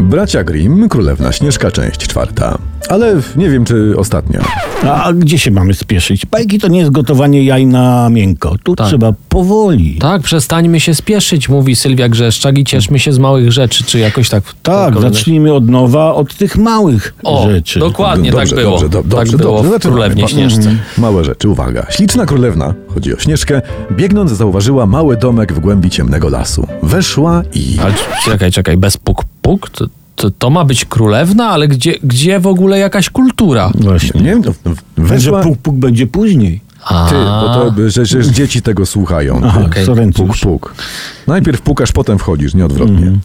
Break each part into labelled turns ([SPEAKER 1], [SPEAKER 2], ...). [SPEAKER 1] Bracia Grimm, Królewna Śnieżka, część czwarta. Ale nie wiem, czy ostatnia.
[SPEAKER 2] A gdzie się mamy spieszyć? Bajki to nie jest gotowanie jaj na miękko. Tu trzeba powoli.
[SPEAKER 3] Tak, przestańmy się spieszyć, mówi Sylwia Grzeszczak i cieszmy się z małych rzeczy, czy jakoś tak. w-
[SPEAKER 2] Tak,
[SPEAKER 3] kolejne-
[SPEAKER 2] zacznijmy od nowa, od tych małych
[SPEAKER 3] O,
[SPEAKER 2] rzeczy.
[SPEAKER 3] dokładnie
[SPEAKER 1] dobrze,
[SPEAKER 3] tak było.
[SPEAKER 1] Dobrze, do, dobrze,
[SPEAKER 3] tak było
[SPEAKER 1] dobrze.
[SPEAKER 3] w Królewnie
[SPEAKER 1] Pa-
[SPEAKER 3] Śnieżce.
[SPEAKER 1] Mhm. Małe rzeczy, uwaga. Śliczna królewna, chodzi o Śnieżkę, biegnąc zauważyła mały domek w głębi ciemnego lasu. Weszła i...
[SPEAKER 3] Ale c- czekaj, czekaj, bez puk puk? To, to, to ma być królewna, ale gdzie, gdzie w ogóle jakaś kultura?
[SPEAKER 2] Właśnie.
[SPEAKER 1] Nie, no,
[SPEAKER 2] Że
[SPEAKER 1] weszła...
[SPEAKER 2] puk puk będzie później.
[SPEAKER 3] A,
[SPEAKER 1] Ty, bo to, by- że, że dzieci tego słuchają.
[SPEAKER 2] Aha,
[SPEAKER 1] Ty.
[SPEAKER 2] okay.
[SPEAKER 1] Puk, puk. Najpierw pukasz, potem wchodzisz, nieodwrotnie.
[SPEAKER 3] Mhm.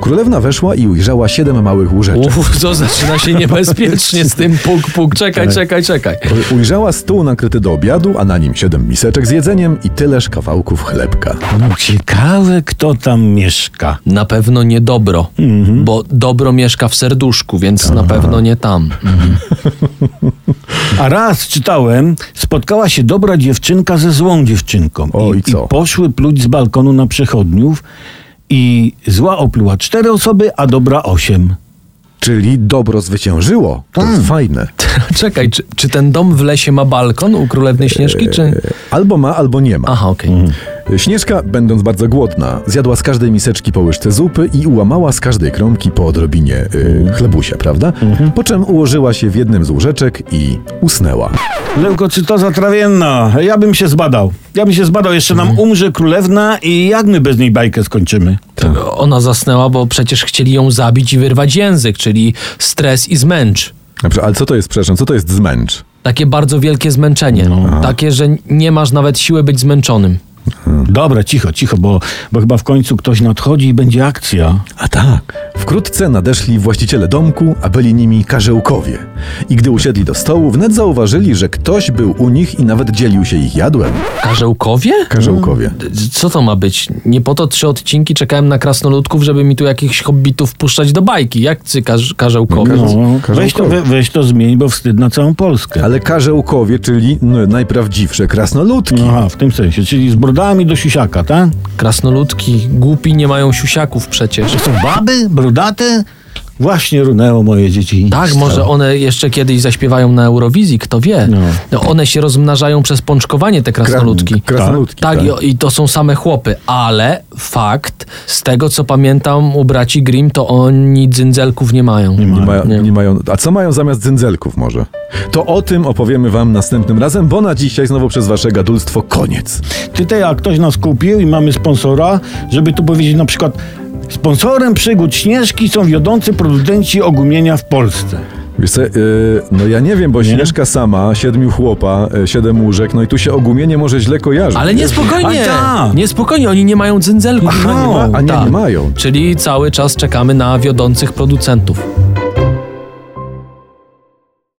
[SPEAKER 1] Królewna weszła i ujrzała siedem małych łóżeczek.
[SPEAKER 3] Uf, to zaczyna się niebezpiecznie z tym puk puk. Czekaj,
[SPEAKER 1] Tak.
[SPEAKER 3] czekaj, czekaj.
[SPEAKER 1] Ujrzała stół nakryty do obiadu, a na nim siedem miseczek z jedzeniem i tyleż kawałków chlebka.
[SPEAKER 2] No ciekawe, kto tam mieszka.
[SPEAKER 3] Na pewno nie dobro,
[SPEAKER 1] Mhm.
[SPEAKER 3] bo dobro mieszka w serduszku, więc na pewno nie tam.
[SPEAKER 2] A raz czytałem, spotkała się dobra dziewczynka ze złą dziewczynką.
[SPEAKER 1] O, i co?
[SPEAKER 2] poszły pluć z balkonu na przechodniów i zła opluła cztery osoby, a dobra osiem.
[SPEAKER 1] Czyli dobro zwyciężyło. To jest fajne.
[SPEAKER 3] Czekaj, czy, czy ten dom w lesie ma balkon u królewnej Śnieżki,
[SPEAKER 1] E,
[SPEAKER 3] czy...
[SPEAKER 1] Albo ma, albo nie ma.
[SPEAKER 3] Aha, okej.
[SPEAKER 1] mhm, Śnieżka, będąc bardzo głodna, zjadła z każdej miseczki po łyżce zupy i ułamała z każdej kromki po odrobinie y, chlebusia, prawda? Po czym ułożyła się w jednym z łóżeczek i usnęła.
[SPEAKER 2] Leukocytoza trawienna. Ja bym się zbadał. Ja bym się zbadał. Jeszcze nam
[SPEAKER 1] Mhm.
[SPEAKER 2] umrze królewna i jak my bez niej bajkę skończymy?
[SPEAKER 1] Tak.
[SPEAKER 3] Ona zasnęła, bo przecież chcieli ją zabić i wyrwać język, czyli stres i zmęcz.
[SPEAKER 1] Dobrze, ale co to jest, przepraszam, co to jest zmęcz?
[SPEAKER 3] Takie bardzo wielkie zmęczenie. Takie, że nie masz nawet siły być zmęczonym.
[SPEAKER 2] Dobra, cicho, cicho, bo, bo chyba w końcu ktoś nadchodzi i będzie akcja.
[SPEAKER 1] A tak. Wkrótce nadeszli właściciele domku, a byli nimi karzełkowie. I gdy usiedli do stołu, wnet zauważyli, że ktoś był u nich i nawet dzielił się ich jadłem.
[SPEAKER 3] Karzełkowie?
[SPEAKER 1] Karzełkowie.
[SPEAKER 3] Co to ma być? Nie po to trzy odcinki czekałem na krasnoludków, żeby mi tu jakichś hobbitów puszczać do bajki. Jak ty, karz- karzełkowie?
[SPEAKER 1] No,
[SPEAKER 2] No,
[SPEAKER 1] każą
[SPEAKER 2] weź, to,
[SPEAKER 1] kogo.
[SPEAKER 2] we, weź to zmień, bo wstyd na całą Polskę.
[SPEAKER 1] Ale karzełkowie, czyli no, najprawdziwsze krasnoludki.
[SPEAKER 3] No,
[SPEAKER 2] Aha, w tym sensie, czyli z brodami do sisiaka, tak?
[SPEAKER 3] Krasnoludki głupi nie mają siusiaków przecież.
[SPEAKER 2] To baby, brodate? Właśnie runęło moje dzieci.
[SPEAKER 3] Tak, może one jeszcze kiedyś zaśpiewają na Eurowizji, kto wie.
[SPEAKER 2] No.
[SPEAKER 3] No, one się rozmnażają przez pączkowanie, te krasnoludki.
[SPEAKER 1] krasnoludki,
[SPEAKER 3] Tak,
[SPEAKER 1] tak.
[SPEAKER 3] I, i to są same chłopy, ale fakt, z tego co pamiętam u braci Grimm, to oni dzyndzelków nie mają.
[SPEAKER 1] Nie, mają,
[SPEAKER 3] Nie.
[SPEAKER 1] nie mają. A co mają zamiast dzędzelków może? To o tym opowiemy wam następnym razem, bo na dzisiaj znowu przez wasze gadulstwo koniec.
[SPEAKER 2] Ty te, jak ktoś nas kupił i mamy sponsora, żeby tu powiedzieć na przykład sponsorem przygód Śnieżki są wiodący producenci ogumienia w Polsce.
[SPEAKER 1] Wiesz co, yy, no ja nie wiem, bo Śnieżka sama, siedmiu chłopa, yy, siedem łóżek, no i tu się ogumienie może źle kojarzy.
[SPEAKER 3] Ale niespokojnie,
[SPEAKER 2] A tak.
[SPEAKER 3] niespokojnie, oni nie mają dzyndzelków.
[SPEAKER 1] A nie ma- a nie, nie
[SPEAKER 3] Tak.
[SPEAKER 1] mają.
[SPEAKER 3] Czyli cały czas czekamy na wiodących producentów.